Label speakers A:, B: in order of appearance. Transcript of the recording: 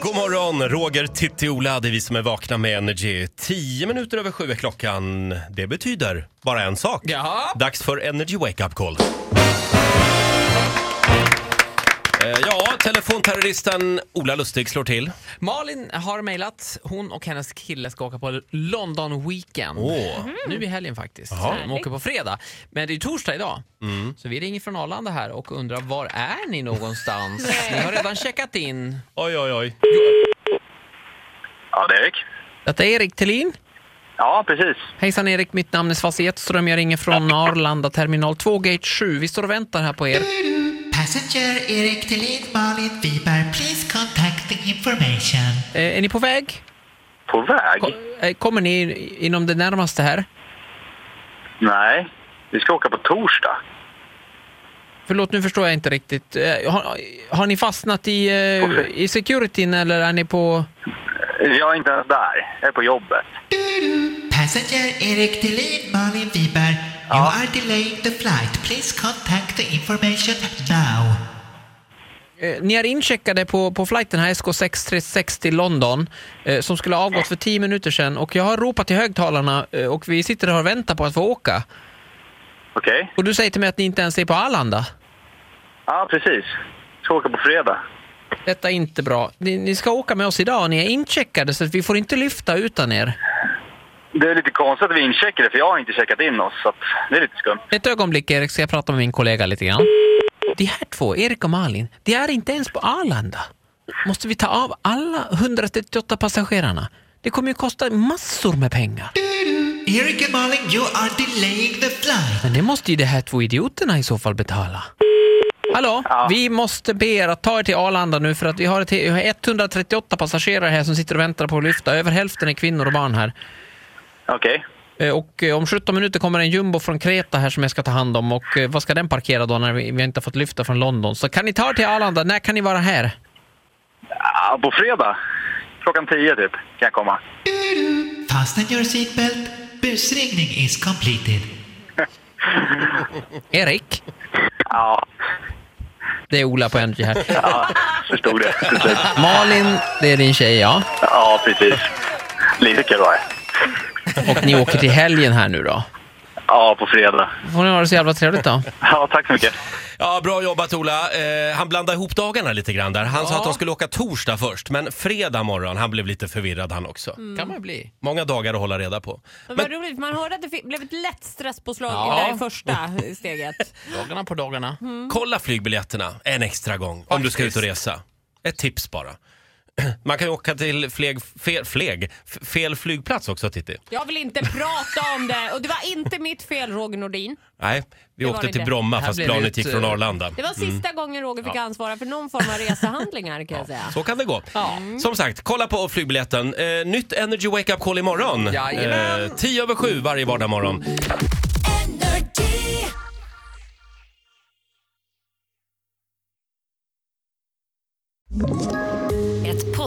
A: God morgon, Roger, Titti, Ola, det är vi som är vakna med Energy. Tio minuter över sju är klockan. Det betyder bara en sak.
B: Jaha.
A: Dags för Energy Wake Up Call. Eh, Ja, telefonterroristen Ola Lustig slår till.
B: Malin har mejlat. Hon och hennes kille ska åka på London Weekend. Mm.
A: Åh. Mhm.
B: Nu i helgen faktiskt.
A: Jaha. Mm.
B: De åker på fredag. Men det är ju torsdag idag. Så vi ringer från Arlanda här och undrar var är ni någonstans? ni har redan checkat in.
A: Oj, oj, oj.
C: Ja, det är Erik.
B: Detta är Erik Thelin.
C: Ja, precis.
B: Hejsan Erik, mitt namn är Svassi Edström. Jag ringer från Arlanda terminal 2 gate 7. Vi står och väntar här på er.
D: Passenger Erik Thelin, Malin Wiberg, please contacting information.
B: Eh, är ni på väg?
C: På väg?
B: Ko- eh, kommer ni inom det närmaste här?
C: Nej, vi ska åka på torsdag.
B: Förlåt, nu förstår jag inte riktigt. Eh, Har, har ni fastnat i, eh,
C: Okej.
B: i securityn eller är ni på...
C: Jag är inte ens där. Jag är på jobbet.
D: Passenger Erik Thelin, Malin Wiberg, you
C: Ja.
D: are delaying the flight. Please contact the information now.
B: eh, Ni är incheckade på, på flighten här, SK636 till London, eh, som skulle ha avgått för 10 minuter sedan. Och jag har ropat i högtalarna eh, och vi sitter här och väntar på att få åka.
C: Okej?
B: Och du säger till mig att ni inte ens är på Arlanda.
C: Ja, precis. Vi ska åka på fredag.
B: Detta är inte bra. Ni, ni ska åka med oss idag, ni är incheckade så att vi får inte lyfta utan er.
C: Det är lite konstigt att vi incheckade, för jag har inte checkat in oss. Så att det är lite skumt.
B: Ett ögonblick Erik, ska jag prata med min kollega lite grann. De här två, Erik och Malin, de är inte ens på Arlanda. Måste vi ta av alla 138 passagerarna? Det kommer ju kosta massor med pengar.
D: Erik and Malin, you are delaying the flight.
B: Men det måste ju de här två idioterna i så fall betala. Hallå,
C: Ja.
B: vi måste be er att ta er till Arlanda nu för att vi har, ett, vi har 138 passagerare här som sitter och väntar på att lyfta. Över hälften är kvinnor och barn här.
C: Okej.
B: Eh, Och eh, om 17 minuter kommer en jumbo från Kreta här som jag ska ta hand om. Och eh, vad ska den parkera då när vi, vi inte har fått lyfta från London? Så kan ni ta er till Arlanda? När kan ni vara här?
C: Ja, på fredag. Klockan tio typ kan jag komma.
D: Fasten your seatbelt. Busringning is completed.
B: Erik?
C: Ja,
B: Det är Ola på Energy här.
C: förstod det. Precis.
B: Malin, det är din tjej ja.
C: Ja, precis. Lite kul var det.
B: Och ni åker till helgen här nu då.
C: Ja, på fredag.
B: Får ni ha det så jävla trevligt då.
C: Ja, tack så mycket.
A: Ja, bra jobbat Ola. Eh, han blandade ihop dagarna lite grann där. Han sa
B: Ja.
A: att de skulle åka torsdag först, men fredag morgon, han blev lite förvirrad han också.
B: kan man bli.
A: Många dagar att hålla reda på.
E: Men
A: Men-
E: vad roligt, man hörde att det fi- blev ett lätt stresspåslag
B: Ja.
E: där i första steget.
B: Dagarna på dagarna.
A: Kolla flygbiljetterna en extra gång om du ska ut och resa. Ett tips bara. Man kan ju åka till fleg, fel, fleg, f- fel flygplats också Titti.
E: Jag vill inte prata om det och det var inte mitt fel Roger Nordin.
A: Nej, vi
E: var
A: åkte
E: det
A: till
E: inte.
A: Bromma
B: Här
A: fast
B: blev
A: planet
B: det
A: gick
B: ett,
A: från
B: eh,
A: Arlanda.
E: Det var sista gången Roger fick ansvara för någon form av resehandlingar kan jag säga.
A: Så kan det gå.
E: Ja.
A: Som sagt, kolla på flygbiljetten. Eh, nytt Energy Wake Up Call imorgon.
B: Jajamän.
A: Eh, 10 över 7 varje vardagsmorgon.
F: Ett